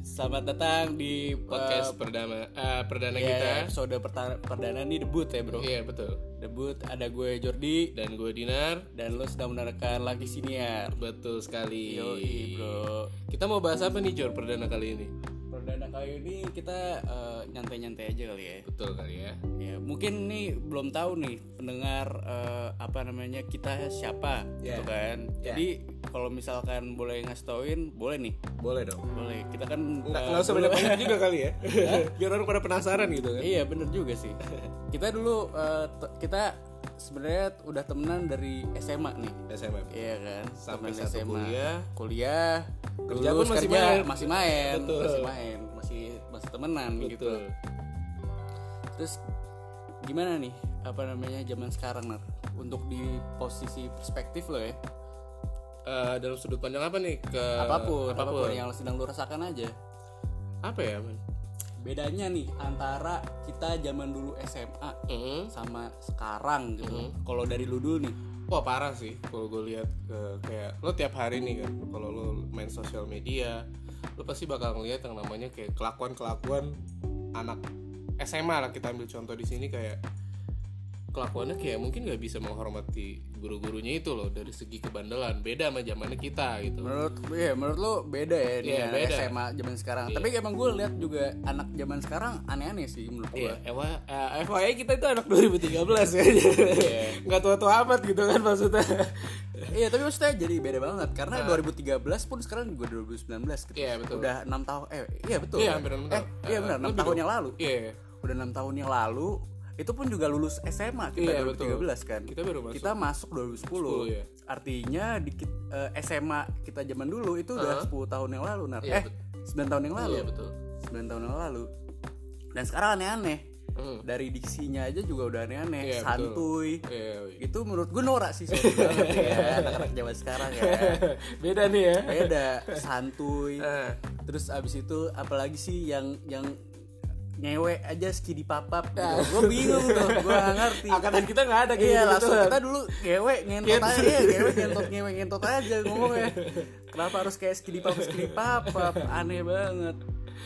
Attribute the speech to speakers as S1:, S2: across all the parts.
S1: Selamat datang di
S2: podcast
S1: eh,
S2: perdana eh, perdana
S1: ya,
S2: kita.
S1: episode perta- perdana nih debut ya bro.
S2: Iya betul.
S1: Debut ada gue Jordi
S2: Dan gue Dinar,
S1: dan lo sedang mendengarkan lagi siniar.
S2: betul sekali.
S1: Yoi bro.
S2: Kita mau bahas apa nih Jor perdana kali ini?
S1: Perdana kali ini kita eh, nyantai-nyantai aja kali ya.
S2: Betul kali ya.
S1: Ya, mungkin nih belum tahu nih pendengar eh, apa namanya kita siapa gitu kan.
S2: Ya.
S1: Jadi kalau misalkan boleh ngasih tauin, boleh nih.
S2: Boleh dong.
S1: Boleh. Kita kan
S2: Nggak,
S1: eh,
S2: nggak usah
S1: dulu-
S2: banyak banyak juga kali ya. Biar orang pada penasaran gitu kan.
S1: Iya bener juga sih. kita dulu eh, te- kita sebenarnya udah temenan dari SMA nih.
S2: SMA.
S1: Iya kan.
S2: Sampai
S1: Temenan
S2: satu kuliah.
S1: Kuliah.
S2: Kerja
S1: lulus,
S2: pun masih
S1: kerja,
S2: main.
S1: Masih main.
S2: Betul.
S1: Masih main. Masih masih temenan gitu.
S2: Betul.
S1: Terus gimana nih apa namanya zaman sekarang Nar? Untuk di posisi perspektif lo ya.
S2: Eh, dalam sudut pandang apa nih ke
S1: apapun, apapun,
S2: apapun.
S1: yang sedang lo rasakan aja.
S2: apa ya man?
S1: Bedanya nih antara kita zaman dulu SMA
S2: Mm.
S1: sama sekarang gitu.
S2: Mm-hmm.
S1: Kalau dari lu dulu nih,
S2: Wah parah sih kalau gue lihat eh, kayak lo tiap hari nih kan kalau lo main sosial media lo pasti bakal ngeliat yang namanya kayak kelakuan kelakuan anak SMA lah kita ambil contoh di sini kayak kelakuannya kayak mungkin nggak bisa menghormati guru-gurunya itu loh dari segi kebandelan beda sama zamannya kita gitu
S1: Menurut ya, menurut lu beda ya ini
S2: Iya,
S1: anak
S2: beda. Iya.
S1: SMA zaman sekarang. Tapi emang gue lihat juga anak zaman sekarang aneh-aneh sih menurut gue.
S2: Iya, Ewa, eh, FYI kita itu anak 2013 ya, nggak tua-tua amat gitu kan maksudnya.
S1: Iya, tapi maksudnya jadi beda banget karena 2013 pun sekarang gue 2019 gitu.
S2: Ah. Iya, betul.
S1: Udah 6 tahun eh iya betul.
S2: Iya, hampir enam
S1: Eh,
S2: tahun.
S1: iya
S2: Eh,
S1: benar, 6
S2: lebih
S1: tahun
S2: dong.
S1: yang lalu.
S2: Iya,
S1: Udah 6 tahun yang lalu itu pun juga lulus SMA kita
S2: Iya,
S1: 2013 kan.
S2: Kita baru masuk.
S1: Kita masuk 2010.
S2: 10, iya.
S1: Artinya di kit- eh, SMA kita zaman dulu itu udah 10 tahun yang lalu, Nar.
S2: Ah. Iya,
S1: eh, 9 tahun yang lalu.
S2: iya betul.
S1: 9 tahun yang lalu dan sekarang aneh-aneh
S2: Hmm.
S1: dari diksinya aja juga udah aneh-aneh
S2: Iya, betul.
S1: santuy
S2: Iya, iya.
S1: itu menurut gue norak sih sorry banget ya anak-anak zaman sekarang ya
S2: beda nih ya.
S1: beda santuy
S2: Eh.
S1: terus abis itu apalagi sih yang yang ngewe aja skidi papap gitu.
S2: Nah.
S1: gue bingung tuh gue gak ngerti
S2: Angkatan kita nggak ada kayak gitu,
S1: iya
S2: gitu-gituan.
S1: langsung kita dulu ngewe ngentot aja iya, ngewe ngentot ngewe ngentot aja ngomongnya kenapa harus kayak skidi pap skidi pap pap? aneh banget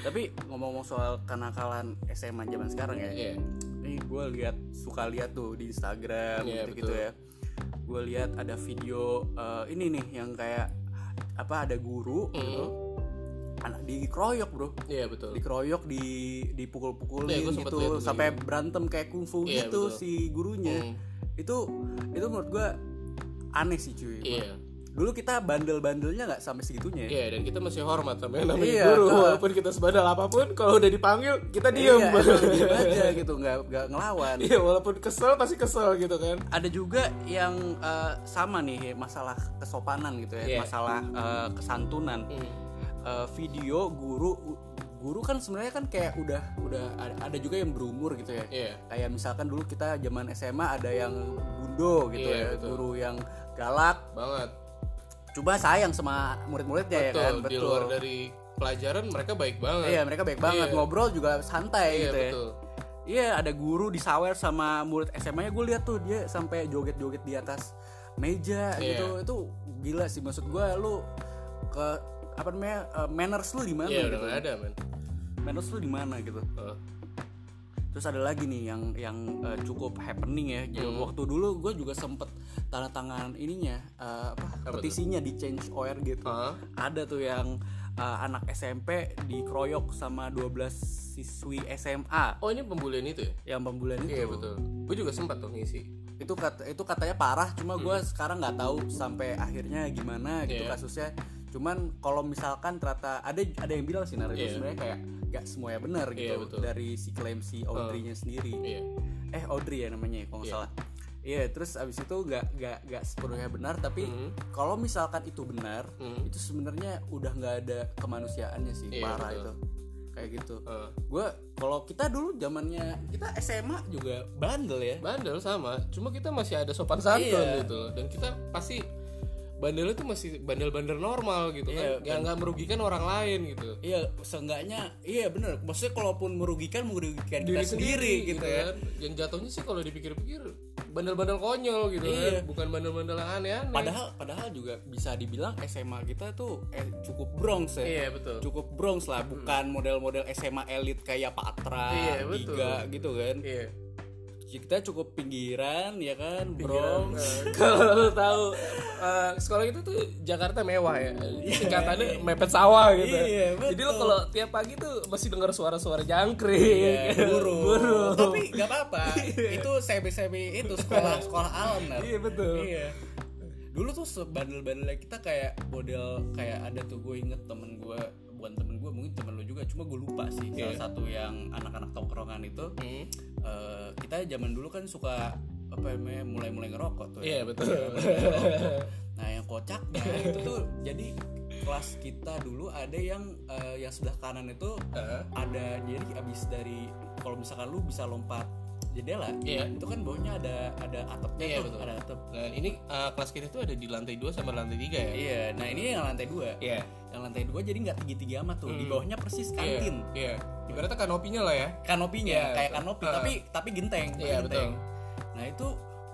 S1: tapi ngomong-ngomong soal kenakalan SMA zaman sekarang ya
S2: Iya.
S1: ini gue lihat suka lihat tuh di Instagram
S2: Iya,
S1: gitu gitu
S2: betul.
S1: ya gue lihat ada video eh, ini nih yang kayak apa ada guru
S2: Hmm.
S1: gitu anak dikeroyok bro
S2: Iya betul.
S1: dikeroyok di dipukul-pukulin
S2: Iya, gua sempet liat
S1: gitu
S2: tuh
S1: sampai berantem kayak kungfu
S2: Iya,
S1: gitu
S2: betul.
S1: si gurunya
S2: Hmm.
S1: itu itu menurut gua aneh sih cuy
S2: Iya.
S1: dulu kita bandel-bandelnya nggak sampai segitunya ya.
S2: Iya dan kita masih hormat sama yang namanya
S1: Iya,
S2: guru
S1: betul.
S2: walaupun kita sebandal apapun kalau udah dipanggil kita diem.
S1: Iya, emang diem aja gitu nggak nggak ngelawan
S2: Iya walaupun kesel pasti kesel gitu kan.
S1: ada juga yang eh, sama nih masalah kesopanan gitu ya
S2: Iya. Hmm.
S1: masalah eh, kesantunan Eh, video guru guru kan sebenarnya kan kayak udah udah ada, ada juga yang berumur gitu ya
S2: Iya.
S1: kayak misalkan dulu kita zaman SMA ada yang bundo gitu ya
S2: Iya, betul.
S1: guru yang galak
S2: Banget.
S1: cuma sayang sama murid-muridnya ya
S2: Betul.
S1: kan
S2: Di luar dari pelajaran mereka baik banget.
S1: iya mereka baik banget
S2: Iya.
S1: ngobrol juga santai
S2: Iya,
S1: gitu ya
S2: betul.
S1: iya ada guru disawer sama murid SMA nya gue lihat tuh dia sampai joget-joget di atas meja
S2: Iya.
S1: gitu itu gila sih maksud gue lu ke apa namanya eh, manners lu di mana
S2: Iya udah
S1: gitu
S2: nggak ada men.
S1: manners lu di mana gitu
S2: Oh.
S1: terus ada lagi nih yang yang eh, cukup happening ya Jadi
S2: Hmm.
S1: waktu dulu gue juga sempet tanda tangan ininya eh, apa, petisinya di change ORG gitu
S2: Hah?
S1: ada tuh yang eh, anak SMP dikeroyok sama 12 siswi SMA
S2: Oh ini pembulian itu ya?
S1: yang pembulian itu
S2: Iya betul. Gue juga sempat tuh ngisi.
S1: itu kata itu katanya parah cuma gue sekarang nggak tahu sampai akhirnya gimana gitu
S2: Hmm. Iya.
S1: kasusnya cuman kalau misalkan ternyata ada ada yang bilang sih Nar, itu
S2: Iya.
S1: sebenarnya kayak gak semuanya benar gitu
S2: Iya, betul.
S1: dari si klaim si Audrey-nya sendiri
S2: Iya.
S1: eh Audrey ya namanya ya, kalau nggak
S2: Iya.
S1: salah iya terus abis itu nggak nggak nggak sepenuhnya benar tapi
S2: Mhm.
S1: kalau misalkan itu benar
S2: Mhm.
S1: itu sebenarnya udah nggak ada kemanusiaannya sih
S2: Iya,
S1: parah
S2: betul.
S1: itu kayak gitu
S2: Eh,
S1: gue kalau kita dulu zamannya kita SMA juga bandel ya
S2: bandel sama cuma kita masih ada sopan santun
S1: Iya.
S2: gitu loh. dan kita pasti bandelnya tuh masih bandel-bandel normal gitu
S1: Iya,
S2: kan yang nggak merugikan orang lain gitu
S1: iya seenggaknya iya benar maksudnya kalaupun merugikan merugikan kita
S2: Diri
S1: sendiri, gitu, ya
S2: kan. dan jatuhnya sih kalau dipikir-pikir bandel-bandel konyol gitu
S1: Iya.
S2: kan bukan bandel-bandel yang aneh-aneh
S1: Padahal padahal juga bisa dibilang SMA kita tuh eh, cukup brongs ya.
S2: iya betul
S1: Cukup brongs lah, bukan model-model SMA elit kayak Patra,
S2: Hmm. Iya, betul.
S1: Giga gitu kan.
S2: iya
S1: Kita cukup pinggiran ya kan,
S2: Pinggiran,
S1: brongs.
S2: eh, kalau lu tahu eh, sekolah itu tuh Jakarta mewah ya singkatannya mepet sawah gitu
S1: Iya, betul.
S2: jadi lu kalau tiap pagi tuh masih dengar suara-suara
S1: Iya,
S2: jangkrik
S1: burung.
S2: burung.
S1: Tapi nggak apa-apa. itu CB-CB itu sekolah sekolah alam Nar.
S2: Iya, betul.
S1: Iya. Dulu tuh sebandel-bandelnya kita kayak model kayak ada tuh gue inget temen gue bukan temen gue mungkin temen lu juga cuma gue lupa sih salah
S2: Iya.
S1: satu yang anak-anak tongkrongan itu
S2: Hmm.
S1: eh, kita zaman dulu kan suka apa namanya mulai-mulai ngerokok tuh ya.
S2: Iya, betul.
S1: Mulai-mulai ngerokok. nah yang kocaknya itu tuh jadi kelas kita dulu ada yang eh, yang sebelah kanan itu
S2: Eh,
S1: ada jadi abis dari kalau misalkan lu bisa lompat jendela
S2: Iya.
S1: itu kan bawahnya ada ada atapnya
S2: Iya,
S1: tuh,
S2: betul.
S1: ada atap
S2: nah ini eh, kelas kita tuh ada di lantai 2 sama lantai 3 ya
S1: iya nah ini yang lantai dua
S2: iya
S1: yang lantai dua jadi nggak tinggi tinggi amat tuh di
S2: Hmm.
S1: bawahnya persis kantin
S2: iya ibaratnya kanopinya lah ya
S1: kanopinya
S2: Iya,
S1: kayak
S2: betul.
S1: kanopi
S2: Ah.
S1: tapi tapi genteng
S2: Iya,
S1: genteng. nah itu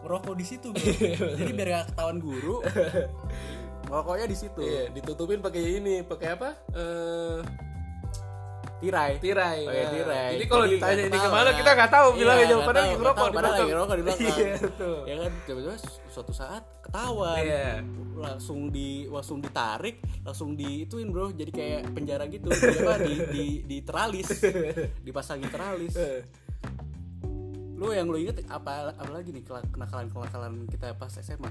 S1: merokok di situ Bro. jadi biar gak ketahuan guru merokoknya di situ
S2: iya ditutupin pakai ini pakai apa Eh,
S1: tirai
S2: tirai.
S1: Pakai
S2: Nah,
S1: tirai.
S2: Jadi kalau
S1: Jadi
S2: ditanya
S1: nggak
S2: ini
S1: tahu,
S2: kemana
S1: kan?
S2: kita nggak tahu
S1: Iya,
S2: bilang aja
S1: nggak
S2: padahal
S1: tahu,
S2: lagi
S1: nggak
S2: ngerokok
S1: tahu,
S2: di
S1: padahal
S2: belakang.
S1: lagi ngerokok di belakang.
S2: Iya tuh.
S1: ya kan tiba-tiba suatu saat ketahuan
S2: Iya.
S1: langsung di langsung ditarik langsung diituin bro jadi kayak penjara gitu Di apa di di, di teralis dipasangin teralis
S2: Eh,
S1: lu yang lu inget apa apa lagi nih kenakalan kenakalan kita pas SMA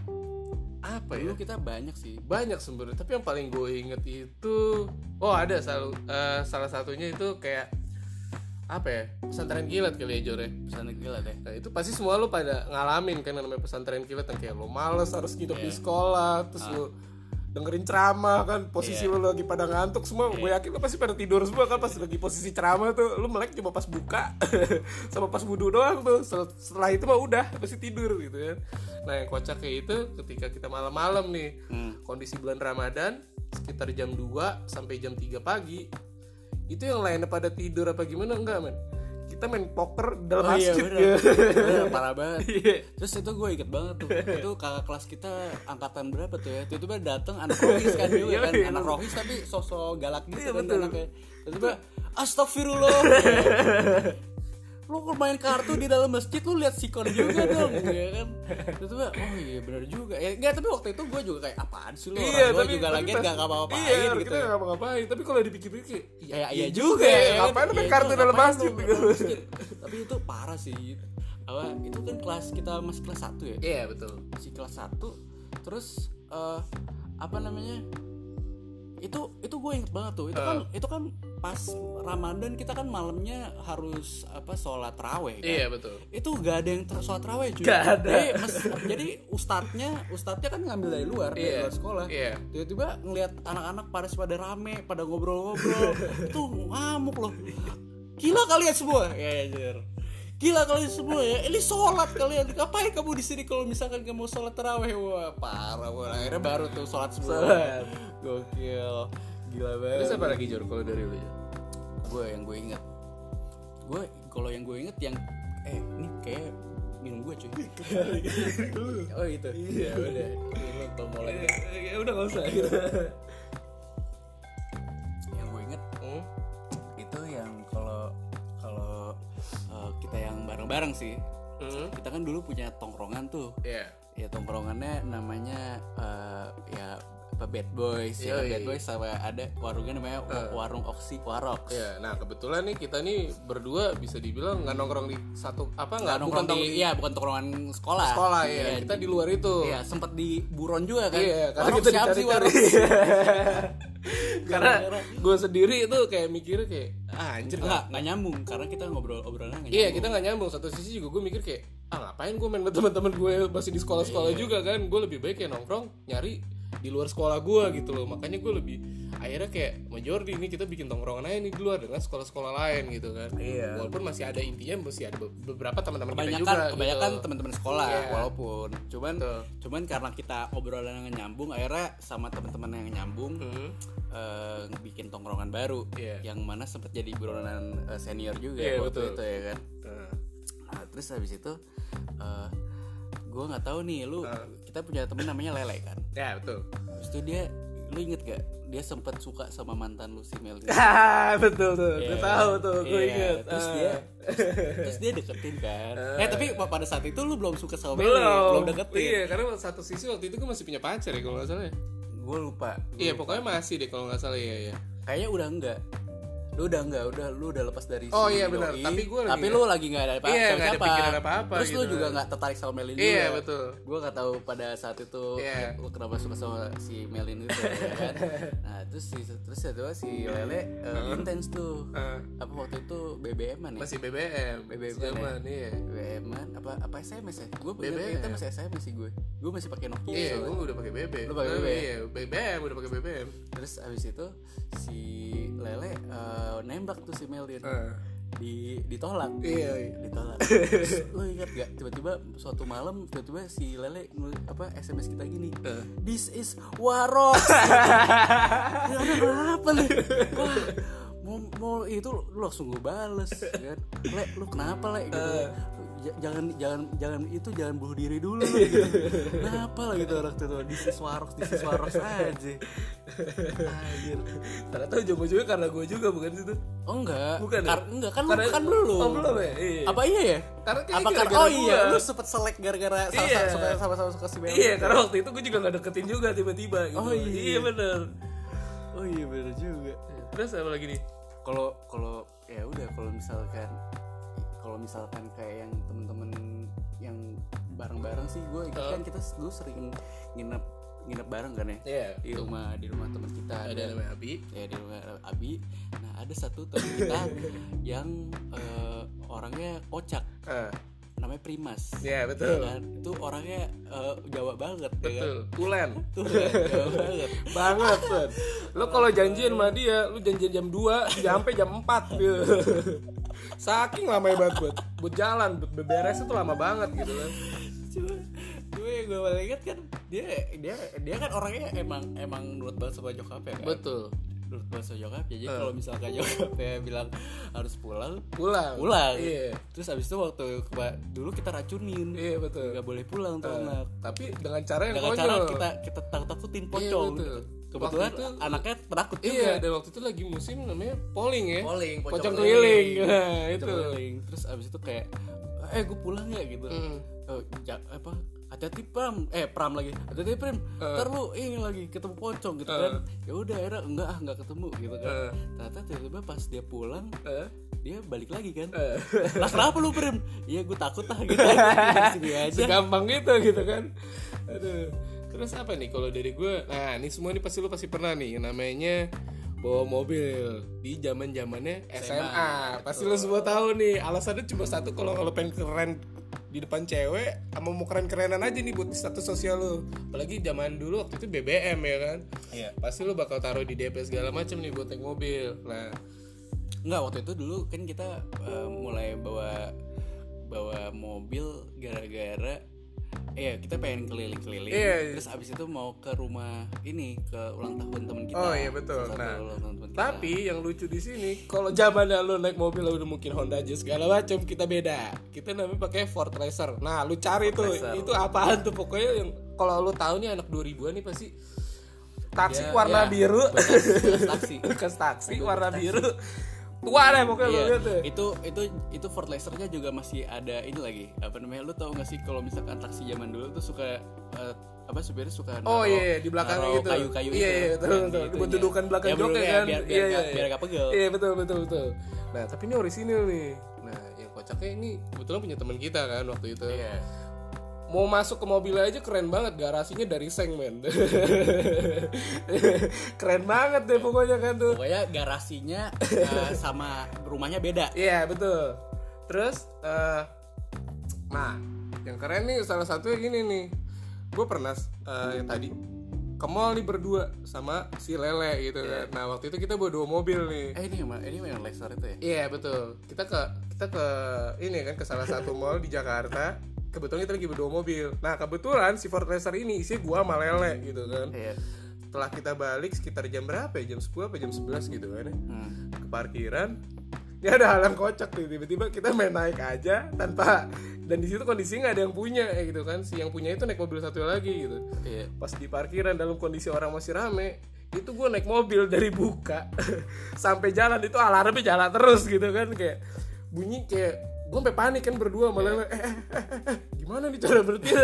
S2: Apa ya?
S1: dulu kita banyak sih
S2: Banyak sebenarnya, tapi yang paling gue inget itu oh ada salah eh, salah satunya itu kayak apa ya? Pesantren kilat kali ya Jor ya.
S1: pesan gila deh
S2: Nah, itu pasti semua lu pada ngalamin kan yang namanya pesantren kilat yang kayak lu males harus nginep di sekolah, terus lu dengerin ceramah kan posisi lu lagi pada ngantuk semua gue yakin lu pasti pada tidur semua kan pas lagi posisi ceramah tuh lu melek cuma pas buka sama pas wudhu doang tuh Sel- setelah itu mah udah pasti tidur gitu kan nah yang kocak kayak itu ketika kita malam-malam nih kondisi bulan Ramadan sekitar jam 2 sampai jam 3 pagi itu yang lainnya pada tidur apa gimana enggak men kita main poker di dalam masjid ya.
S1: Oh iya, bener. Bener, parah banget
S2: Iya.
S1: Terus itu gue inget banget tuh Itu kakak kelas kita angkatan berapa tuh ya Tiba-tiba dateng anak rohis kan dulu ya kan
S2: Iya, iya.
S1: Anak rohis tapi sosok galak gitu
S2: Iya,
S1: kan
S2: betul.
S1: anaknya Tiba-tiba astagfirullah Lu kok main kartu di dalam masjid lu lihat sikon juga dong ya kan Tiba-tiba oh iya bener juga ya, Enggak tapi waktu itu gue juga kayak apaan sih lu Orang gue juga lagi
S2: Iya, pas-
S1: gak ngapa-ngapain
S2: iya, orang
S1: gitu
S2: kita nggak ngapa-ngapain tapi kalau dipikir-pikir kayak,
S1: Ya, ya, iya juga.
S2: ya,
S1: ya,
S2: ngapain lu
S1: kan?
S2: main
S1: Ya,
S2: kartu
S1: itu
S2: dalam
S1: ngapain
S2: masjid
S1: lu
S2: gitu.
S1: dalam masjid? Tapi itu parah sih. Apa itu kan kelas kita masih kelas 1 ya?
S2: iya betul
S1: Masih kelas 1. Terus eh, apa namanya? Itu itu gue inget banget tuh. Itu kan
S2: Eh.
S1: itu kan pas Ramadan kita kan malamnya harus apa sholat raweh kan?
S2: iya betul
S1: Itu gak ada yang ter- sholat raweh cuy.
S2: Gak ada.
S1: Jadi, mes- jadi ustadznya ustadznya kan ngambil dari luar dari
S2: Iya.
S1: luar sekolah
S2: iya
S1: tiba-tiba ngelihat anak-anak pada pada rame pada ngobrol-ngobrol itu ngamuk loh gila kalian semua ya ya jujur. gila kalian semua ya ini sholat kalian ngapain kamu di sini kalau misalkan kamu mau sholat teraweh wah parah wah akhirnya baru tuh sholat semua
S2: Sholat.
S1: gokil gila banget
S2: terus apa lagi Jor kalau dari lu ya
S1: gue yang gue inget gue kalau yang gue inget yang eh ini kayak minum gue cuy oh itu iya udah ini tombolnya
S2: ya udah nggak usah
S1: yang gue inget
S2: Hmm?
S1: itu yang kalau kalau uh, kita yang bareng-bareng sih kita kan dulu punya tongkrongan tuh
S2: Hmm? iya
S1: ya tongkrongannya namanya uh, ya apa bad boys ya
S2: Yoi. Eh.
S1: bad boys sama ada warungnya namanya wa- warung oksi warox
S2: Iya, nah kebetulan nih kita nih berdua bisa dibilang nggak nongkrong di satu apa
S1: Nggak
S2: nggak bukan
S1: nongkrong
S2: di
S1: iya bukan tongkrongan sekolah
S2: sekolah ya kita di luar itu
S1: Iya, sempet di buron juga kan.
S2: Iya, karena
S1: Warung
S2: kita
S1: siapa sih
S2: dicari-cari.
S1: warung?
S2: karena gue sendiri itu kayak mikirnya kayak ah, anjir
S1: Enggak, enggak nyambung karena kita ngobrol obrolan enggak
S2: Iya kita nggak nyambung satu sisi juga gue mikir kayak ah ngapain gue main sama teman-teman gue masih di sekolah-sekolah
S1: Iya.
S2: juga kan gue lebih baik kayak nongkrong nyari di luar sekolah gue gitu loh makanya gue lebih akhirnya kayak majority ini kita bikin tongkrongan aja nih di luar dengan sekolah-sekolah lain gitu kan
S1: Iya.
S2: walaupun masih ada intinya masih ada be- beberapa teman-teman kita
S1: kebanyakan
S2: juga
S1: kebanyakan
S2: gitu.
S1: teman-teman sekolah
S2: Iya.
S1: walaupun cuman
S2: Betul.
S1: cuman karena kita obrolan yang nyambung akhirnya sama teman-teman yang nyambung
S2: Hmm.
S1: eh, bikin tongkrongan baru
S2: Iya.
S1: yang mana sempat jadi buronan eh, senior juga waktu
S2: Iya,
S1: ya
S2: betul.
S1: itu ya kan
S2: Nah,
S1: nah terus habis itu eh, gue nggak tahu nih lu
S2: Eh.
S1: kita punya temen namanya Lele kan
S2: ya betul
S1: Terus itu dia lu inget gak dia sempat suka sama mantan lu si Mel gitu.
S2: betul tuh
S1: Iya.
S2: gue tahu tuh gue
S1: Iya,
S2: inget
S1: terus
S2: Ah.
S1: dia terus dia deketin kan eh tapi pada saat itu lu belum suka sama Mel
S2: belum
S1: belum deketin
S2: iya karena satu sisi waktu itu gue masih punya pacar ya kalau nggak salah ya
S1: gue lupa
S2: iya pokoknya masih deh kalau nggak salah ya ya
S1: kayaknya udah enggak lu udah enggak udah lu udah lepas dari
S2: Oh,
S1: si
S2: iya,
S1: doi.
S2: benar. Tapi gua lagi
S1: tapi lu lagi nggak ada apa
S2: Iya, nggak ada
S1: siapa
S2: pikiran apa-apa
S1: terus lu
S2: gitu.
S1: juga nggak tertarik sama Melin
S2: Iya,
S1: juga.
S2: betul.
S1: gua nggak tahu pada saat itu
S2: Iya.
S1: lu kenapa suka sama si Melin itu ya kan nah terus si terus itu si Lele eh,
S2: Hmm.
S1: intens tuh
S2: Eh,
S1: apa waktu itu BBM-an ya
S2: masih BBM
S1: BBM,
S2: zaman iya
S1: BBM-an apa apa SMS ya gue BBM kita
S2: BBM.
S1: masih SMS sih gue gue masih pakai Nokia soalnya.
S2: Iya, gue udah pakai BBM.
S1: Lu pakai
S2: Eh,
S1: BBM?
S2: Iya, BBM udah pakai BBM.
S1: terus abis itu si Lele eh, nembak tuh si Melin
S2: Eh,
S1: di ditolak
S2: Iya.
S1: ditolak Terus lu ingat gak tiba-tiba suatu malam tiba-tiba si Lele nul- apa SMS kita gini
S2: Eh.
S1: this is warok ya udah apa nih wah mau, mau itu lu langsung gue bales kan le lu kenapa le gitu
S2: Eh.
S1: "Ja- jangan jangan jangan itu jangan bunuh diri dulu
S2: Iya.
S1: lu," gitu. kenapa lah gitu orang tuh this is warok this is warok aja Anjir.
S2: Ternyata ujung-ujungnya karena gue juga bukan situ.
S1: oh enggak
S2: Bukan ya?
S1: Kar- enggak kan lu
S2: Karena-
S1: kan belum
S2: Oh, belum ya? Iya.
S1: apa iya ya
S2: Karena kayaknya
S1: apa karena
S2: gara-gara
S1: oh iya
S2: gua.
S1: lu sempet selek gara-gara sama
S2: Iya.
S1: sama sama sama suka si Mel
S2: Iya, karena waktu itu gue juga gak deketin juga tiba-tiba gitu.
S1: Oh, iya.
S2: bener.
S1: oh iya bener juga
S2: Terus apa lagi nih?
S1: kalau kalau ya udah kalau misalkan kalau misalkan kayak yang temen-temen yang bareng-bareng sih gue ikut
S2: Oh.
S1: kan kita dulu sering nginep nginep bareng kan ya
S2: Iya.
S1: di rumah di rumah teman kita
S2: Ada
S1: ada
S2: namanya Abi.
S1: ya di rumah Abi nah ada satu teman kita yang eh, orangnya kocak
S2: Ah,
S1: namanya Primas
S2: Iya, betul.
S1: ya kan? itu orangnya eh, Jawa banget ya kan?
S2: Betul. Tulen.
S1: Tuh, Jawa banget
S2: Banget, Son. Lu kalau janjian sama dia, lu janjian jam 2, sampai jam 4 gitu. Saking lama banget buat buat jalan, buat beberes itu lama banget gitu kan.
S1: cuma cuma yang gue paling inget kan dia dia dia kan orangnya emang emang nurut banget sama nyokap ya kan
S2: Betul. Eh.
S1: nurut banget sama nyokap jadi kalau misalkan nyokap bilang harus pulang
S2: Pulang.
S1: pulang
S2: Iya.
S1: terus abis itu waktu keba- dulu kita racunin
S2: Iya, betul.
S1: nggak boleh pulang tuh anak
S2: Tapi dengan cara yang
S1: dengan
S2: konyol.
S1: cara kita kita takutin pocong gitu.
S2: betul.
S1: kebetulan
S2: Waktu itu-
S1: anaknya penakut juga
S2: Iya, dan waktu itu lagi musim namanya polling ya.
S1: Polling, pocong
S2: pocong keliling.
S1: keliling.
S2: Nah,
S1: Kita
S2: itu.
S1: keliling. terus abis itu kayak eh gue pulang ya gitu
S2: Hmm.
S1: Eh, ja- apa hati-hati pram eh pram lagi hati-hati pram
S2: Eh.
S1: ntar lu ini lagi ketemu pocong gitu kan ya udah akhirnya enggak ah enggak ketemu gitu kan
S2: Eh.
S1: ternyata tiba-tiba pas dia pulang
S2: Eh,
S1: dia balik lagi kan
S2: eh.
S1: lah kenapa lu pram iya gue takut lah gitu aja Sini Iya, aja
S2: Segampang gitu gitu kan. Aduh. Terus apa nih kalau dari gue? Nah, ini semua ini pasti lu pasti pernah nih yang namanya bawa mobil di zaman zamannya SMA. Pasti lu semua tahu nih. Alasannya cuma satu kalau kalau pengen keren di depan cewek sama mau keren-kerenan aja nih buat status sosial lu. Apalagi zaman dulu waktu itu BBM ya kan. Iya. Pasti lu bakal taruh di DP segala macam nih buat naik mobil. Nah,
S1: Enggak waktu itu dulu kan kita eh, mulai bawa bawa mobil gara-gara Iya kita pengen keliling-keliling
S2: Iya, iya.
S1: Terus abis itu mau ke rumah ini Ke ulang tahun temen kita
S2: Oh, iya, betul.
S1: Salah satu
S2: Nah,
S1: ulang tahun temen kita.
S2: Tapi yang lucu di sini, kalau zamannya lu naik mobil udah mungkin Honda aja segala macam, kita beda. Kita namanya pakai Ford Racer. Nah, lu cari tuh, itu apaan tuh pokoknya yang kalau lu tahu nih anak 2000-an nih pasti taksi
S1: Ya, ya.
S2: warna biru,
S1: Bekas- bekas taksi
S2: bekas taksi warna biru. Tua deh pokoknya lu
S1: Iya,
S2: lihat deh.
S1: itu itu itu Ford Lasernya juga masih ada ini lagi apa namanya lu tau gak sih kalau misalkan taksi zaman dulu tuh suka eh, apa supirnya suka
S2: Oh
S1: naro-
S2: iya, di belakangnya
S1: naro
S2: gitu.
S1: kayu-kayu
S2: Iya,
S1: itu,
S2: iya, betul,
S1: yang
S2: betul.
S1: di
S2: Buat
S1: itunya.
S2: dudukan belakang
S1: Ya, bener,
S2: joknya
S1: ya,
S2: kan.
S1: biar biar,
S2: Iya,
S1: gak-
S2: iya,
S1: biar
S2: iya.
S1: gak pegel
S2: Iya betul betul betul. Nah tapi ini orisinil nih. Nah yang kocaknya ini kebetulan punya teman kita kan waktu itu.
S1: Iya.
S2: Mau masuk ke mobilnya aja keren banget garasinya dari seng men. keren banget deh pokoknya kan tuh.
S1: Pokoknya garasinya eh, sama rumahnya beda.
S2: Iya betul. Terus, eh nah yang keren nih salah satunya gini nih. Gue pernah eh, yang tadi ke mall nih berdua sama si Lele gitu kan. Nah waktu itu kita bawa dua mobil nih.
S1: Eh ini yang mana- ini yang laser itu ya?
S2: Iya betul. Kita ke kita ke ini kan ke salah satu mall di Jakarta. Kebetulan kita lagi berdua mobil. Nah kebetulan si Ford Racer ini isinya gua sama Lele gitu kan.
S1: Iya.
S2: Setelah kita balik sekitar jam berapa ya? Jam 10 apa jam 11 gitu kan ya.
S1: Hmm.
S2: Ke parkiran. dia ada hal yang kocak tuh tiba-tiba kita main naik aja tanpa dan di situ kondisi nggak ada yang punya ya gitu kan si yang punya itu naik mobil satu lagi gitu
S1: Iya.
S2: pas di parkiran dalam kondisi orang masih rame itu gue naik mobil dari buka sampai jalan itu alarmnya jalan terus gitu kan kayak bunyi kayak gue sampai panik kan berdua malah eh, eh, eh, eh, gimana nih cara berhenti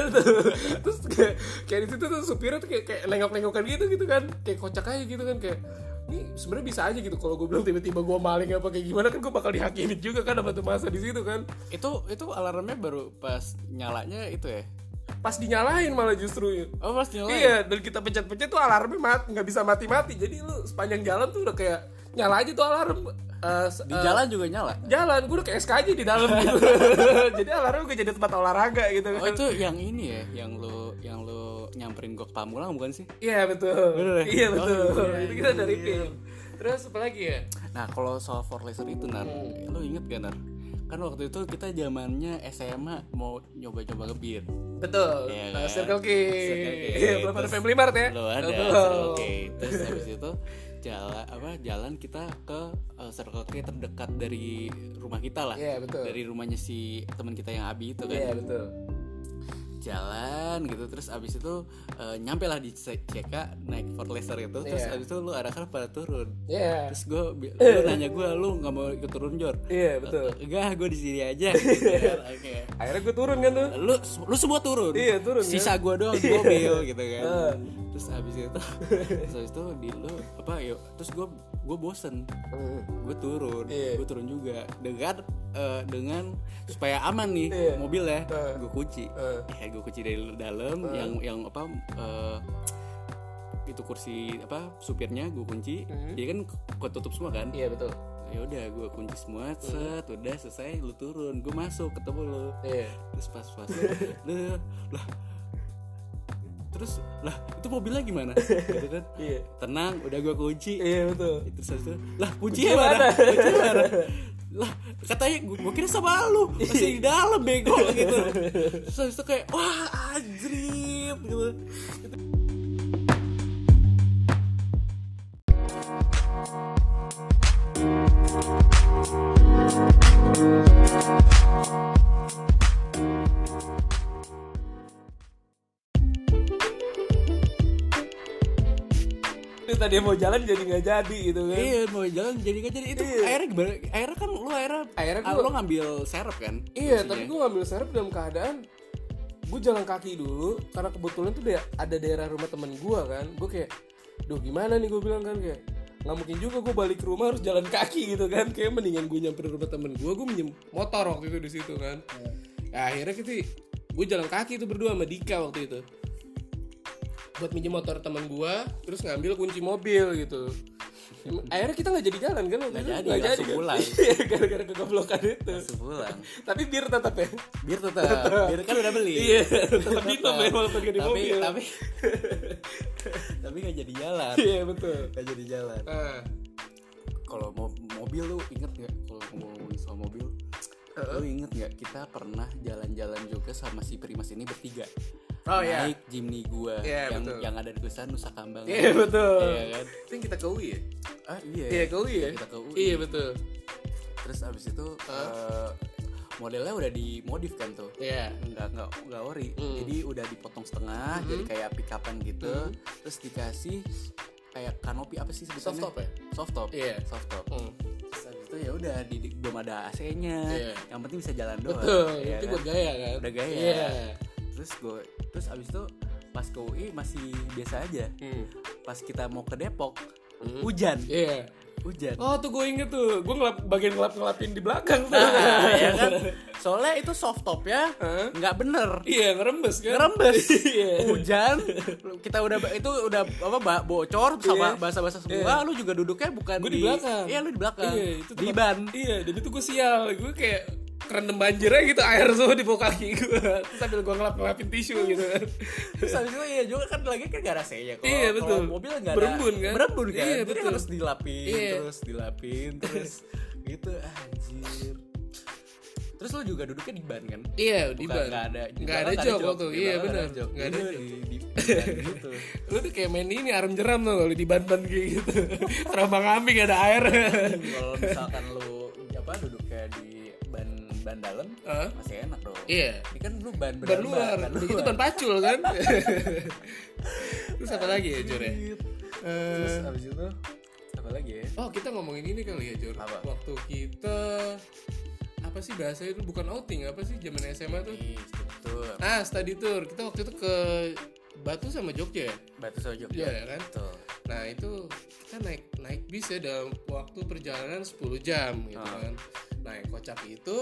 S2: terus kayak kayak di situ tuh supirnya tuh kayak, kayak nengok-nengokan gitu gitu kan kayak kocak aja gitu kan kayak ini sebenarnya bisa aja gitu kalau gue bilang tiba-tiba gue maling apa kayak gimana kan gue bakal dihakimin juga kan sama tuh masa di situ kan
S1: Itu itu alarmnya baru pas nyalanya itu ya.
S2: pas dinyalain malah justru
S1: Oh, pas nyala.
S2: Iya, dan kita pencet-pencet tuh alarmnya mat- nggak bisa mati-mati. Jadi lu sepanjang jalan tuh udah kayak nyala aja tuh alarm. Eh, s-
S1: Di
S2: eh,
S1: jalan juga nyala.
S2: jalan, gue udah kayak SKJ di dalam gitu. jadi alarmnya gue jadi tempat olahraga gitu.
S1: Oh, itu yang ini ya, yang lu yang lu nyamperin gok pamulang bukan sih?
S2: Iya betul.
S1: Bener ya?
S2: Iya betul.
S1: Oh, iya,
S2: itu kita dari film. Terus apa lagi ya?
S1: Nah, kalau soal for laser itu nar, lu inget gak nar? Kan waktu itu kita zamannya SMA mau nyoba-nyoba ngebir.
S2: Betul.
S1: Iya,
S2: Nah,
S1: kan?
S2: Circle K.
S1: Circle K.
S2: Iya, belum ada
S1: Terus
S2: Family Mart ya.
S1: Belum ada.
S2: Betul.
S1: Circle K. Terus habis itu jalan apa jalan kita ke eh, Circle K terdekat dari rumah kita lah.
S2: Iya, betul.
S1: Dari rumahnya si teman kita yang Abi itu kan.
S2: Iya, betul.
S1: Jalan gitu terus abis itu eh, nyampe lah di C- CK naik Fort Laser itu terus
S2: Iya.
S1: abis itu lu arahkan pada turun.
S2: Iya.
S1: Terus gue lu nanya gue lu nggak mau ikut turun Jor?
S2: Eh.
S1: Eh,
S2: Iya, betul.
S1: Enggak, gue di sini aja. Gitu kan. Oke.
S2: Akhirnya gue turun kan tuh.
S1: Lu lu semua turun.
S2: Iya, turun, kan? Ah.
S1: Sisa gue doang di mobil gitu kan. terus habis itu terus habis itu di lu apa yuk terus gue gue bosen
S2: Hmm.
S1: gue turun
S2: Iya.
S1: gue turun juga dengan eh, dengan supaya aman nih
S2: Iya.
S1: mobil ya
S2: Eh.
S1: gue kunci
S2: Eh.
S1: eh gue kunci dari dalam
S2: Ah.
S1: yang yang apa eh, itu kursi apa supirnya gue kunci
S2: Mhm.
S1: jadi kan ketutup semua kan
S2: Iya, betul.
S1: ya udah gue kunci semua set udah selesai lu turun gue masuk ketemu lu
S2: Iya.
S1: terus pas pas lah lah terus lah itu mobilnya gimana gitu kan
S2: Iya.
S1: tenang udah gua kunci
S2: Iya, betul.
S1: terus habis itu lah kuncinya mana kuncinya mana lah katanya gua, gua kira sama lu masih di dalam bego gitu terus habis itu kayak wah anjrit gitu
S2: Ini tadi mau jalan jadi nggak jadi gitu kan.
S1: iya mau jalan jadi nggak jadi itu akhirnya gimana akhirnya kan lu akhirnya
S2: Akhirnya
S1: ah,
S2: Iya. gua-
S1: lu ngambil serep kan
S2: Iya,
S1: Maksudnya.
S2: tapi gue ngambil serep dalam keadaan gue jalan kaki dulu karena kebetulan tuh da- ada daerah rumah temen gue kan. Gue kayak, duh gimana nih gue bilang kan kayak nggak mungkin juga gue balik ke rumah harus jalan kaki gitu kan. Kayak mendingan gue nyamperin rumah temen gue, gue minjem motor waktu itu di situ kan. Ya, akhirnya kita gue jalan kaki itu berdua sama Dika waktu itu buat minjem motor teman gua terus ngambil kunci mobil gitu akhirnya kita nggak jadi jalan kan waktu itu?
S1: jadi,
S2: Nggak
S1: langsung
S2: kan?
S1: pulang.
S2: Iya, gara-gara kegoblokan itu
S1: sebulan
S2: tapi bir tetap ya
S1: bir tetap bir kan udah beli
S2: iya tetap minum ya walaupun gak di
S1: tapi
S2: mobil
S1: tapi tapi nggak jadi jalan
S2: iya betul
S1: nggak jadi jalan
S2: nah
S1: kalau mau mobil lu inget nggak kalau ngomongin soal mobil lu inget nggak kita pernah jalan-jalan juga sama si Primas ini bertiga
S2: Oh, iya.
S1: naik Jimny gua
S2: Iya,
S1: yang
S2: betul.
S1: yang ada di Nusa Nusa Kambangan
S2: iya betul
S1: Iya, kan?
S2: itu yang kita ke UI ya
S1: ah iya
S2: iya ke UI ya
S1: Kita ke UI.
S2: iya betul
S1: terus abis itu eh, modelnya udah dimodif kan tuh
S2: iya
S1: nggak nggak nggak ori
S2: Hmm.
S1: jadi udah dipotong setengah jadi kayak pikapan gitu terus dikasih kayak kanopi apa sih sebutannya
S2: Soft top ya?
S1: soft top
S2: Iya.
S1: soft top
S2: Hmm.
S1: terus abis itu ya udah di, di- belum ada AC-nya
S2: Iya.
S1: yang penting bisa jalan doang
S2: betul
S1: ya
S2: itu
S1: kan?
S2: buat gaya kan
S1: udah gaya
S2: iya
S1: terus gue terus abis itu pas ke UI masih biasa aja
S2: Hmm.
S1: pas kita mau ke Depok hujan
S2: iya
S1: hujan
S2: Oh tuh gue inget tuh, gue ngelap, bagian ngelap-ngelapin di belakang tuh
S1: Nah, ya
S2: iya,
S1: kan soalnya itu soft top ya
S2: Hah?
S1: nggak bener
S2: Iya ngerembes kan
S1: Ngerembes.
S2: Iya
S1: hujan kita udah itu udah apa ba- bocor sama
S2: Iya.
S1: bahasa-bahasa semua lu juga duduknya bukan
S2: Gue di belakang
S1: iya lu di belakang
S2: Iya itu
S1: di
S2: tempat-
S1: ban
S2: Iya dan itu gue sial Gue kayak kerendam banjirnya gitu Air semua di bawah kaki gue Terus sambil gue ngelap-ngelapin tisu gitu kan
S1: terus habis itu iya juga kan lagi kan gak ada AC-nya kalau
S2: Iya, betul.
S1: kalau mobil gak ada
S2: Berembun, kan?
S1: berembun kan
S2: Iya,
S1: jadi
S2: betul.
S1: harus dilapin
S2: Iya.
S1: terus dilapin terus gitu anjir terus lu juga duduknya di ban kan
S2: Iya di
S1: Bukan,
S2: ban
S1: nggak ada di
S2: Nggak ada
S1: belakang
S2: jok waktu
S1: Di
S2: Iya
S1: belakang
S2: benar
S1: jok.
S2: Nggak ada
S1: Jadi
S2: jok
S1: di, di, di ban gitu
S2: Lu tuh kayak main ini arem jeram tuh Lu di ban-ban kayak gitu Terombang ambing ada air
S1: kalau misalkan lu jam
S3: apa duduk kayak di ban ban dalam
S2: Hah?
S3: masih enak dong.
S2: Iya.
S3: Ini kan lu ban beneran,
S2: Ban luar.
S3: ban
S2: Itu ban pacul kan. Terus apa lagi ya Jor ya?
S3: Terus
S2: Eh,
S3: habis itu apa lagi ya?
S2: Oh kita ngomongin ini kali ya Jor.
S3: Apa?
S2: Waktu kita apa sih bahasanya itu bukan outing apa sih zaman SMA tuh?
S3: Di struktur
S2: Ah study tour. Kita waktu itu ke Batu sama Jogja ya?
S3: batu sojo.
S2: Iya ya kan?
S3: Betul.
S2: Nah itu kita naik naik bis ya dalam waktu perjalanan 10 jam gitu
S3: Ah.
S2: kan. Nah yang kocak itu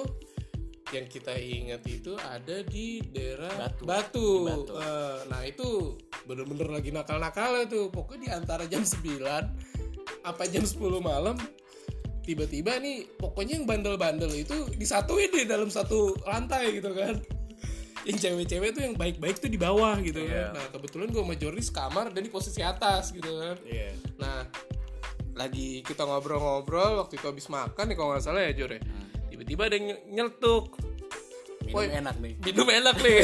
S2: yang kita ingat itu ada di daerah
S3: Batu.
S2: Batu.
S3: Di Batu.
S2: Eh, nah itu bener-bener lagi nakal-nakal tuh. Pokoknya di antara jam 9 apa jam 10 malam tiba-tiba nih pokoknya yang bandel-bandel itu disatuin di dalam satu lantai gitu kan yang cewek-cewek tuh yang baik-baik tuh di bawah gitu
S3: Iya.
S2: kan nah kebetulan gue sama Jordi sekamar dan di posisi atas gitu kan
S3: Iya.
S2: Nah, lagi kita ngobrol-ngobrol waktu itu habis makan nih kalau nggak salah ya Jor ya. Tiba-tiba ada yang ny- nyeletuk.
S1: Minum
S2: Woi.
S1: enak nih.
S2: Minum enak nih.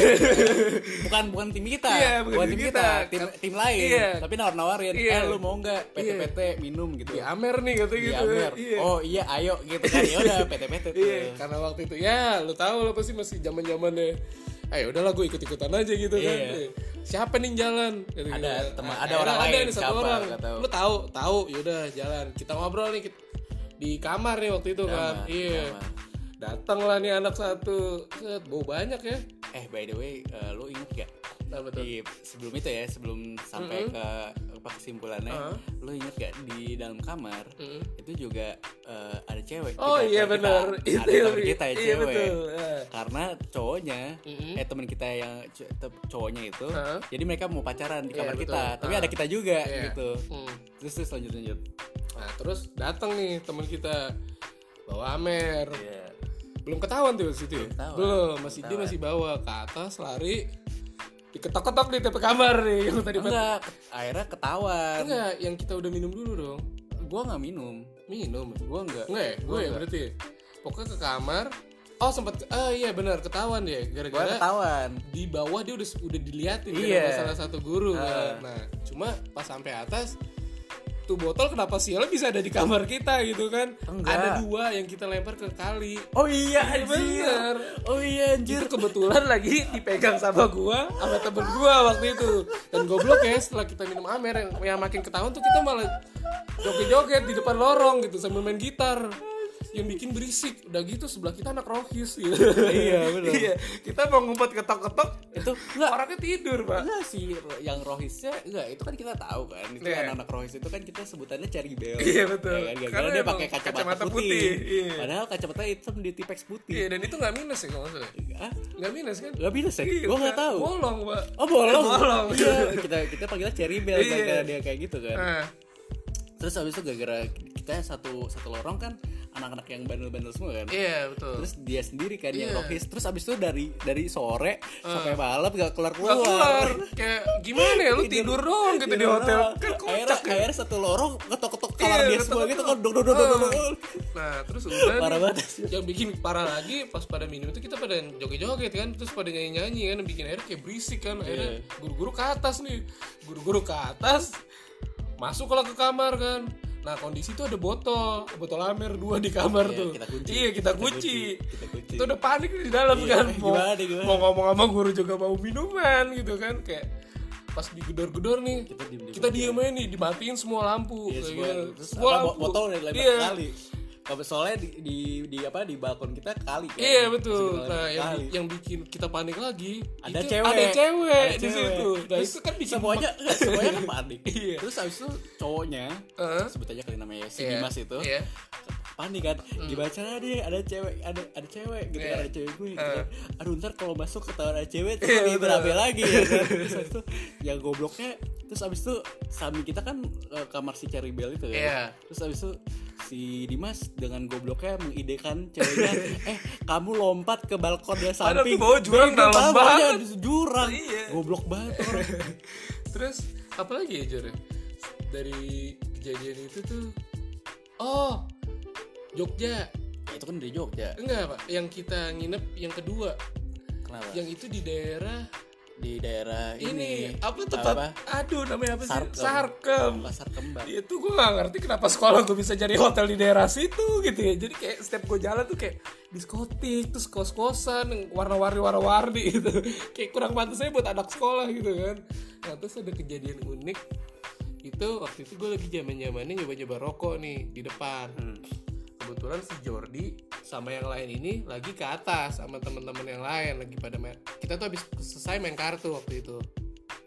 S1: Bukan bukan tim kita.
S2: Iya, bukan tim
S1: tim
S2: kita.
S1: Tim, tim lain.
S2: Iya.
S1: Tapi nawar-nawarin,
S2: Iya.
S1: "Eh, lu mau nggak PT-PT minum gitu?"
S2: Di Amer nih katanya
S1: Iya,
S2: gitu.
S1: Amer.
S2: Iya.
S1: Oh iya, ayo gitu kan. Ya udah PT-PT tuh.
S2: Iya, karena waktu itu ya lu tahu lah pasti masih zaman-zamannya. Ayo udahlah gue ikut-ikutan aja gitu kan.
S1: Iya.
S2: Siapa nih yang jalan? Gitu,
S1: Ada teman- ada
S2: akhirnya
S1: orang
S2: ada
S1: lain,
S2: nih satu
S1: siapa,
S2: orang.
S1: nggak tahu.
S2: Lu tahu, tahu, yaudah jalan. Kita ngobrol nih kita- di kamar nih waktu itu kan.
S1: Kamar,
S2: Iya.
S1: kamar.
S2: Datanglah nih anak satu. Set, bau banyak ya.
S1: Eh, by the way, eh, lu inget gak?
S2: Nah, betul.
S1: Di, sebelum itu ya, sebelum sampai ke apa kesimpulannya, lu inget gak di dalam kamar itu juga eh, ada cewek.
S2: Oh
S1: Kita-
S2: iya
S1: kita-
S2: benar.
S1: Ada teman kita ya
S2: Iya
S1: cewek.
S2: betul. Eh,
S1: karena cowoknya
S2: Mm-mm.
S1: eh teman kita yang c- te- cowoknya itu
S2: Heeh.
S1: jadi mereka mau pacaran di
S2: Iya,
S1: kamar
S2: betul.
S1: kita tapi
S2: Heeh.
S1: ada kita juga
S2: Iya.
S1: gitu
S2: hmm.
S1: terus terus lanjut lanjut
S2: Nah, terus datang nih teman kita bawa Amer.
S1: Iya.
S2: Belum ketahuan tuh situ. ya?
S1: ketahuan.
S2: Belum, masih dia masih bawa ke atas lari diketok-ketok di tepi kamar nih yang tadi Pat-
S1: enggak akhirnya ketahuan
S2: Enggak, yang kita udah minum dulu dong.
S1: gua nggak minum
S2: Minum.
S1: gua nggak
S2: Enggak ya? Gue ya berarti. Pokoknya ke kamar. Oh, sempat oh iya benar ketahuan ya
S1: gua
S2: gara-gara
S1: ketahuan
S2: di bawah dia udah udah diliatin kan
S1: Iya. Ah.
S2: sama salah satu guru kan. Nah, cuma pas sampai atas tuh botol kenapa sial bisa ada di kamar kita gitu kan?
S1: Enggak.
S2: Ada dua yang kita lempar ke kali.
S1: oh iya anjir
S2: Bener.
S1: oh iya anjir
S2: Itu kebetulan lagi dipegang sama gua sama temen gua waktu itu. Dan goblok ya setelah kita minum amer yang, yang makin ketahuan tuh kita malah joget-joget di depan lorong gitu sambil main gitar yang bikin berisik udah gitu sebelah kita anak rohis gitu. iya benar iya. kita mau ngumpet ketok-ketok
S1: itu enggak
S2: orangnya tidur pak
S1: enggak sih yang rohisnya enggak itu kan kita tahu kan itu
S2: Iya.
S1: anak-anak rohis itu kan kita sebutannya cari bel
S2: Iya, betul.
S1: ya, kan? Gara-gara
S2: Karena
S1: dia
S2: emang
S1: pakai kacamata,
S2: kacamata
S1: putih,
S2: putih, iya.
S1: padahal kacamata hitam di tipex putih
S2: Iya dan itu nggak minus ya kalau nggak salah.
S1: Ah,
S2: Nggak minus kan?
S1: Gak bisa sih,
S2: Iya,
S1: gue gak tahu.
S2: Bolong pak.
S1: Oh bolong,
S2: Bolong.
S1: Iya, kita kita panggilnya cherry bell
S2: Iya.
S1: gara-gara dia kayak gitu kan.
S2: Nah,
S1: Terus habis itu gara-gara kita satu satu lorong kan anak-anak yang bandel-bandel semua kan.
S2: iya betul.
S1: Terus dia sendiri kan yang
S2: Iya. Ah.
S1: rohis. Terus abis itu dari dari sore sampai malam gak keluar keluar.
S2: Nggak keluar. Kayak gimana ya lu tidur doang gitu di hotel. Kan
S1: akhirnya,
S2: kocak ya.
S1: akhirnya satu lorong ketok-ketok kamar
S2: Iya,
S1: dia semua gitu kan dong dong dong dong
S2: Ah.
S1: dong.
S2: Nah terus udah
S1: Parah
S2: nih,
S1: banget. Iya,
S2: Yang bikin parah lagi pas pada minum itu kita pada joget-joget kan Terus pada nyanyi-nyanyi kan Bikin air kayak berisik kan
S1: Iya.
S2: Akhirnya guru-guru ke atas nih Guru-guru ke atas Masuklah ke kamar kan Nah kondisi itu ada botol Botol amer dua di kamar tuh
S1: kita kunci.
S2: Iya kita kunci
S1: Kita kunci. Iya,
S2: Itu udah panik nih di dalam kan mau,
S1: gimana deh, gimana?
S2: mau ngomong sama guru juga mau minuman gitu kan Kayak pas digedor-gedor nih kita diem,
S1: diem-diem
S2: aja nih dimatiin semua lampu
S1: Iya,
S2: kayak
S1: semua,
S2: gitu.
S1: terus
S2: Semua
S1: apa,
S2: lampu.
S1: botol dari lebar
S2: Iya.
S1: kali. Kalau soalnya di, di, di apa di balkon kita kali kan.
S2: Iya betul.
S1: Sekitar
S2: Nah yang,
S1: kali.
S2: yang bikin kita panik lagi
S1: ada
S2: itu
S1: cewek
S2: ada cewek
S1: Ada
S2: di situ. Nah
S1: Terus
S2: itu kan bikin
S1: semuanya enggak, semuanya kan panik
S2: Iya.
S1: terus habis itu cowoknya
S2: Heeh.
S1: sebut aja kali namanya si
S2: Iya,
S1: Dimas itu
S2: iya.
S1: panik kan
S2: Hmm.
S1: gimana caranya nih ada cewek ada ada cewek gitu
S2: Iya.
S1: kan ada cewek gue gitu
S2: Heeh.
S1: kan aduh ntar kalau masuk ketahuan ada cewek terus
S2: Iya,
S1: lebih
S2: betul.
S1: berabe lagi ya kan terus habis itu yang gobloknya terus habis itu samping kita kan eh, kamar si Cherry Bell itu kan
S2: Iya.
S1: terus habis itu si Dimas dengan gobloknya mengidekan ceweknya eh kamu lompat ke balkonnya
S2: Padahal
S1: samping
S2: di bawah jurang
S1: Bego
S2: dalam
S1: bawahnya
S2: banget.
S1: di jurang
S2: Iya.
S1: goblok banget orang
S2: Terus apa lagi ya Jor? Dari kejadian itu tuh Oh Jogja
S1: Ya, itu kan dari Jogja
S2: Enggak pak Yang kita nginep yang kedua
S1: kenapa
S2: Yang itu di daerah
S3: di daerah ini,
S2: Iya. ini apa tempat
S3: apa?
S2: aduh namanya apa sih
S3: Sarkem.
S2: sarkem
S3: pasar kembang
S2: itu gue gak ngerti kenapa sekolah gue bisa jadi hotel di daerah situ gitu ya jadi kayak setiap gue jalan tuh kayak diskotik terus kos kosan yang warna-warni warna-warni gitu kayak kurang pantasnya buat anak sekolah gitu kan nah terus ada kejadian unik itu waktu itu gue lagi zaman zamannya nyoba nyoba rokok nih di depan kebetulan si Jordi sama yang lain ini lagi ke atas sama teman-teman yang lain lagi pada main kita tuh habis selesai main kartu waktu itu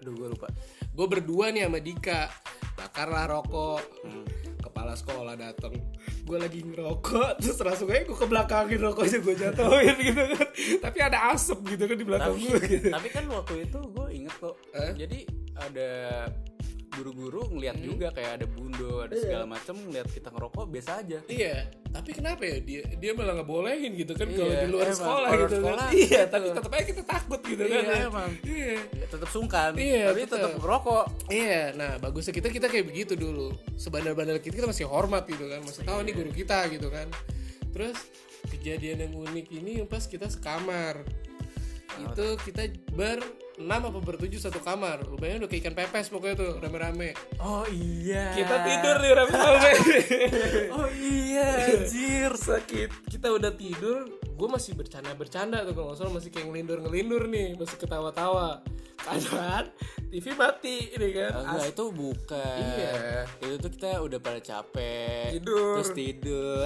S2: aduh gue lupa gue berdua nih sama Dika bakarlah rokok kepala sekolah dateng gue lagi ngerokok terus langsung aja gue ke belakangin rokoknya gue jatuhin gitu kan tapi ada asap gitu kan di belakang
S1: tapi
S2: gue gitu.
S1: tapi kan waktu itu gue inget kok
S2: Eh? Hmm.
S1: jadi ada guru-guru ngeliat juga kayak ada bundo ada segala macem ngeliat kita ngerokok biasa aja
S2: Iya, tapi kenapa ya dia dia malah ngebolehin gitu kan
S1: Iya,
S2: kalau di luar
S1: emang.
S2: sekolah
S1: Kalau
S2: gitu
S1: sekolah,
S2: kan. Iya,
S1: gitu.
S2: tapi tetap aja kita takut gitu
S1: Iya,
S2: kan. ya.
S1: emang.
S2: Iya.
S1: ya, tetap sungkan
S2: Iya,
S1: tapi
S2: tetep.
S1: tetap ngerokok
S2: Iya, nah bagusnya kita kita kayak begitu dulu. Sebandel-bandel kita kita masih hormat gitu kan, masih tahu nih guru kita gitu kan. Terus kejadian yang unik ini yang pas kita sekamar. itu kita berenam apa bertujuh satu kamar. Lu bayangin udah kayak ikan pepes pokoknya tuh rame-rame.
S1: oh iya
S2: Kita tidur nih rame-rame.
S1: oh iya anjir
S2: sakit kita udah tidur gue masih bercanda bercanda tuh kalau nggak salah masih kayak ngelindur ngelindur nih masih ketawa tawa kanan TV mati
S1: Oh,
S2: ini kan
S3: Enggak
S2: As-
S3: itu bukan
S2: Iya.
S3: Itu tuh kita udah pada capek
S2: Tidur.
S3: Terus tidur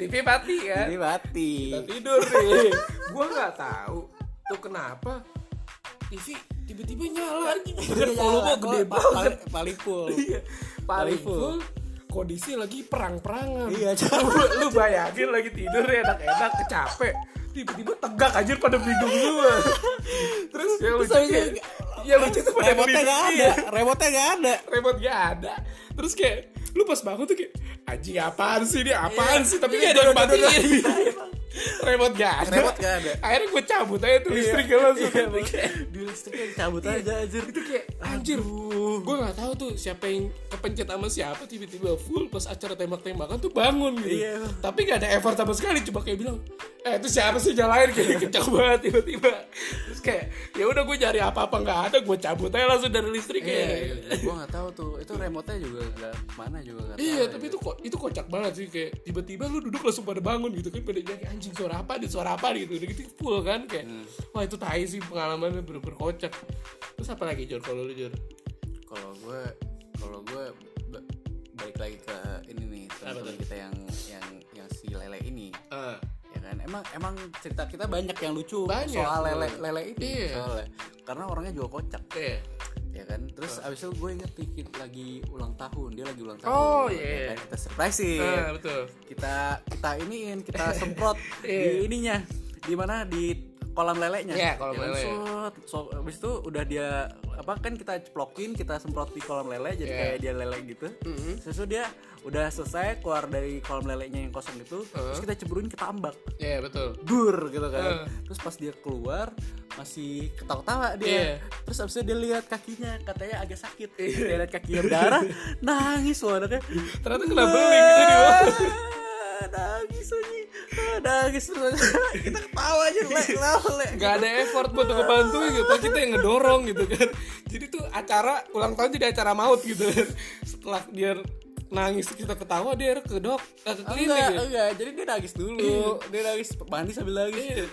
S2: TV mati kan
S3: Jadi mati
S2: Kita tidur nih gue nggak tahu tuh kenapa TV tiba-tiba nyala anjing kan volume gede banget
S3: Paling full
S2: Iya. paling
S3: full.
S2: full kondisi lagi perang-perangan
S3: Iya
S2: lu, lu bayangin lagi tidur ya enak-enak kecapek tiba-tiba tegak anjir pada bidung gua terus yang lucu
S3: habis
S2: kayak- yang lucu tuh pada
S3: Remote-nya
S2: bidung
S3: gak ada
S2: iya,
S3: Remote-nya gak ada
S2: remote gak ada terus kayak lu pas bangun tuh kayak anjing apaan sih ini
S1: Iya.
S2: apaan sih tapi gak ada yang matiin remote gak ada
S1: Remote gak ada.
S2: akhirnya gue cabut aja tuh listriknya langsung Kayak-
S1: di listriknya dicabut aja anjir
S2: itu kayak anjir gue nggak tahu tuh siapa yang kepencet sama siapa tiba-tiba full pas acara tembak-tembakan tuh bangun gitu
S1: Iya.
S2: tapi nggak ada effort sama sekali cuma kayak bilang eh itu siapa sih nyalain kayak kencang banget tiba-tiba terus kayak ya udah gue nyari apa-apa nggak ada gue cabut aja langsung dari listrik
S1: Iya,
S2: kayak
S1: gue gak tahu tuh. Itu remote-nya juga nggak mana juga gak tahu.
S2: Iya, tapi itu kok itu kocak banget sih kayak tiba-tiba lu duduk langsung pada bangun gitu kan pada nyari anjing suara apa ada suara apa gitu udah gitu full kan kayak wah itu tai sih pengalamannya bener-bener kocak terus apa lagi Jor kalau lu Jor
S1: Kalau gue, kalau gue ba- balik lagi ke ini nih teman-teman kita yang yang yang si lele ini,
S2: Ah.
S1: ya kan? Emang emang cerita kita banyak yang lucu
S2: Banyak.
S1: soal lele lele ini,
S2: Iya.
S1: soalnya karena orangnya juga kocak,
S2: Iya.
S1: ya kan? Terus abis itu gue inget dikit lagi ulang tahun, dia lagi ulang tahun.
S2: Oh,
S1: ya
S2: iya.
S1: kan? Kita surprisein.
S2: Ah, betul.
S1: kita kita iniin kita semprot
S2: Iya.
S1: di ininya di mana di kolam lelenya
S2: Iya, kolam
S1: Ya kan,
S2: lele.
S1: sut. so abis itu udah dia apa kan kita ceplokin kita semprot di kolam lele jadi
S2: Iya.
S1: kayak dia lele gitu Terus itu dia udah selesai keluar dari kolam lelenya yang kosong itu
S2: Uh-huh.
S1: terus kita ceburin ke tambak
S2: Iya, betul.
S1: dur gitu
S2: Uh-huh.
S1: kan terus pas dia keluar masih ketawa-tawa dia
S2: Iya.
S1: terus abis itu dia lihat kakinya katanya agak sakit dia lihat kakinya berdarah nangis loh anaknya
S2: Ternyata kena beling gitu di bawah.
S1: Ah, nangis lagi Ah, nangis terus kita ketawa aja le kenapa, le
S2: Gak ada effort buat ngebantuin gitu, tapi kita yang ngedorong gitu kan. Jadi tuh acara ulang tahun jadi acara maut gitu kan. Setelah dia nangis kita ketawa dia ke dok eh, ke klinik
S1: enggak
S2: ya.
S1: enggak jadi dia nangis dulu dia nangis mandi sambil nangis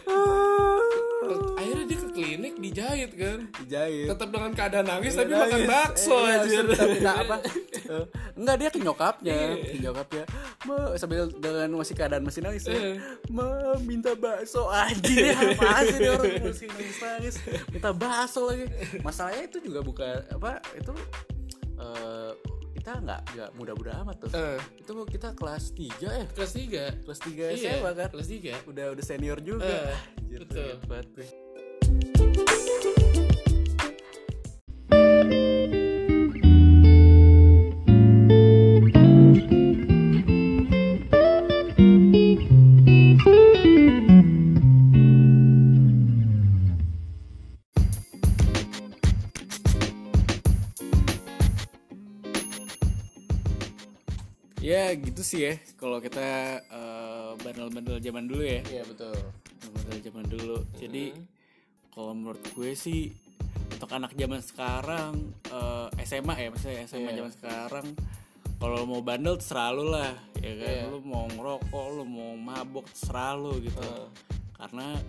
S2: Akhirnya dia ke klinik dijahit kan.
S1: jahit
S2: Tetap dengan keadaan nangis tapi makan bakso
S1: Eh, iya,
S2: anjir. Iya.
S1: terus dia minta apa? Eh, enggak dia ke nyokapnya, ke nyokapnya. Ma, sambil dengan masih keadaan masih nangis
S2: Iya.
S1: ya. Ma, minta bakso anjing apa sih dia orang masih nangis nangis. Minta bakso lagi. Masalahnya itu juga bukan apa itu eh, kita nggak nggak muda-muda amat tuh.
S2: Eh,
S1: Itu kita kelas 3 ya,
S2: kelas 3.
S1: kelas 3 SMA kan.
S2: Kelas 3.
S1: Udah udah senior juga.
S2: Iya. Eh,
S1: Anjir,
S2: betul.
S1: keren banget gue.
S3: Ya gitu sih ya Kalau kita eh, bandel-bandel zaman dulu ya
S2: Iya betul.
S3: Bandel zaman dulu Jadi kalau menurut gue sih
S1: untuk anak zaman sekarang eh, SMA ya maksudnya SMA zaman sekarang kalau mau bandel terserah lu lah ya kan
S2: Iya.
S1: lu mau ngerokok lu mau mabok terserah lu gitu karena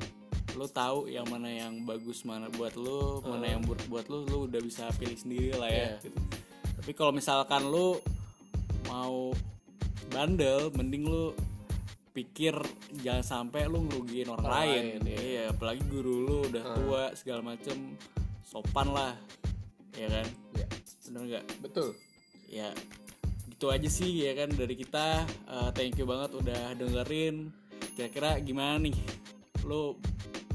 S1: lu tahu yang mana yang bagus mana buat lu mana yang buruk buat lu lu udah bisa pilih sendiri lah ya
S2: Iya.
S1: gitu. tapi kalau misalkan lu mau bandel mending lu pikir jangan sampai lu ngerugiin orang, lain, iya Ah. apalagi guru lu udah tua segala macem sopan lah ya kan
S2: Iya.
S1: bener nggak
S2: betul
S1: ya gitu aja sih ya kan dari kita Eh, thank you banget udah dengerin kira-kira gimana nih lo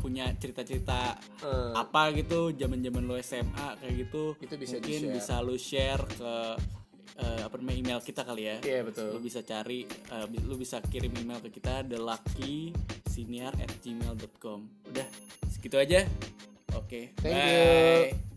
S1: punya cerita-cerita
S2: Eh.
S1: apa gitu zaman-zaman lo SMA kayak gitu
S2: Itu bisa
S1: mungkin
S2: di-share.
S1: bisa lo share ke eh, apa namanya email kita kali ya
S2: Iya, betul.
S1: lo bisa cari eh, bi- lo bisa kirim email ke kita thelackysenior@gmail.com udah segitu aja oke
S2: Thank
S1: bye.
S2: you.